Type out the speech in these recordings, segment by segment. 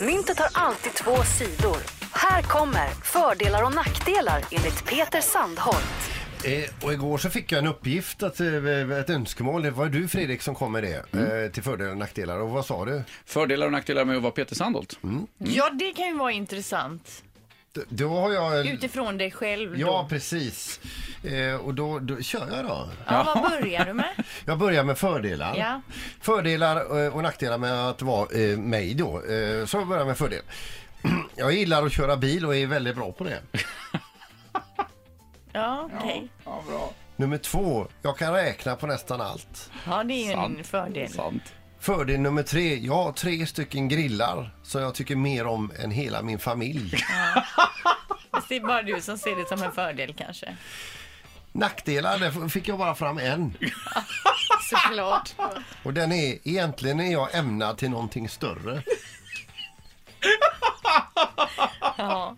Myntet har alltid två sidor. Här kommer fördelar och nackdelar enligt Peter Sandholt. Eh, och igår så fick jag en uppgift, att, eh, ett önskemål. Det var du Fredrik som kom med det eh, till fördelar och nackdelar. Och vad sa du? Fördelar och nackdelar med att vara Peter Sandholt? Ja, det kan ju vara intressant. D- då har jag... en- Utifrån dig själv Ja, då. precis. Eh, och då, då kör jag då. Ja, vad börjar du med? Jag börjar med fördelar. Ja. Fördelar eh, och nackdelar med att vara eh, mig då. Eh, så jag börjar med fördel. Jag gillar att köra bil och är väldigt bra på det. Ja, okej. Ja, bra. Nummer två, jag kan räkna på nästan allt. Ja, det är ju en Sant. Mm, fördel. Sant. Fördel nummer tre, jag har tre stycken grillar som jag tycker mer om än hela min familj. Fast Det är bara du som ser det som en fördel kanske. Nackdelar, där f- fick jag bara fram en. Såklart. Och den är, egentligen är jag ämnad till någonting större. Ja.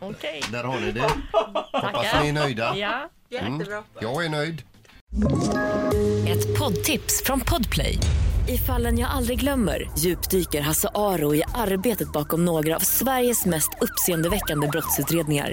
Okej. Där har ni det. Hoppas Tackar. ni är nöjda. Mm. Ja. Jättebra. Jag är nöjd. Ett poddtips från Podplay. I fallen jag aldrig glömmer djupdyker Hasse Aro i arbetet bakom några av Sveriges mest uppseendeväckande brottsutredningar.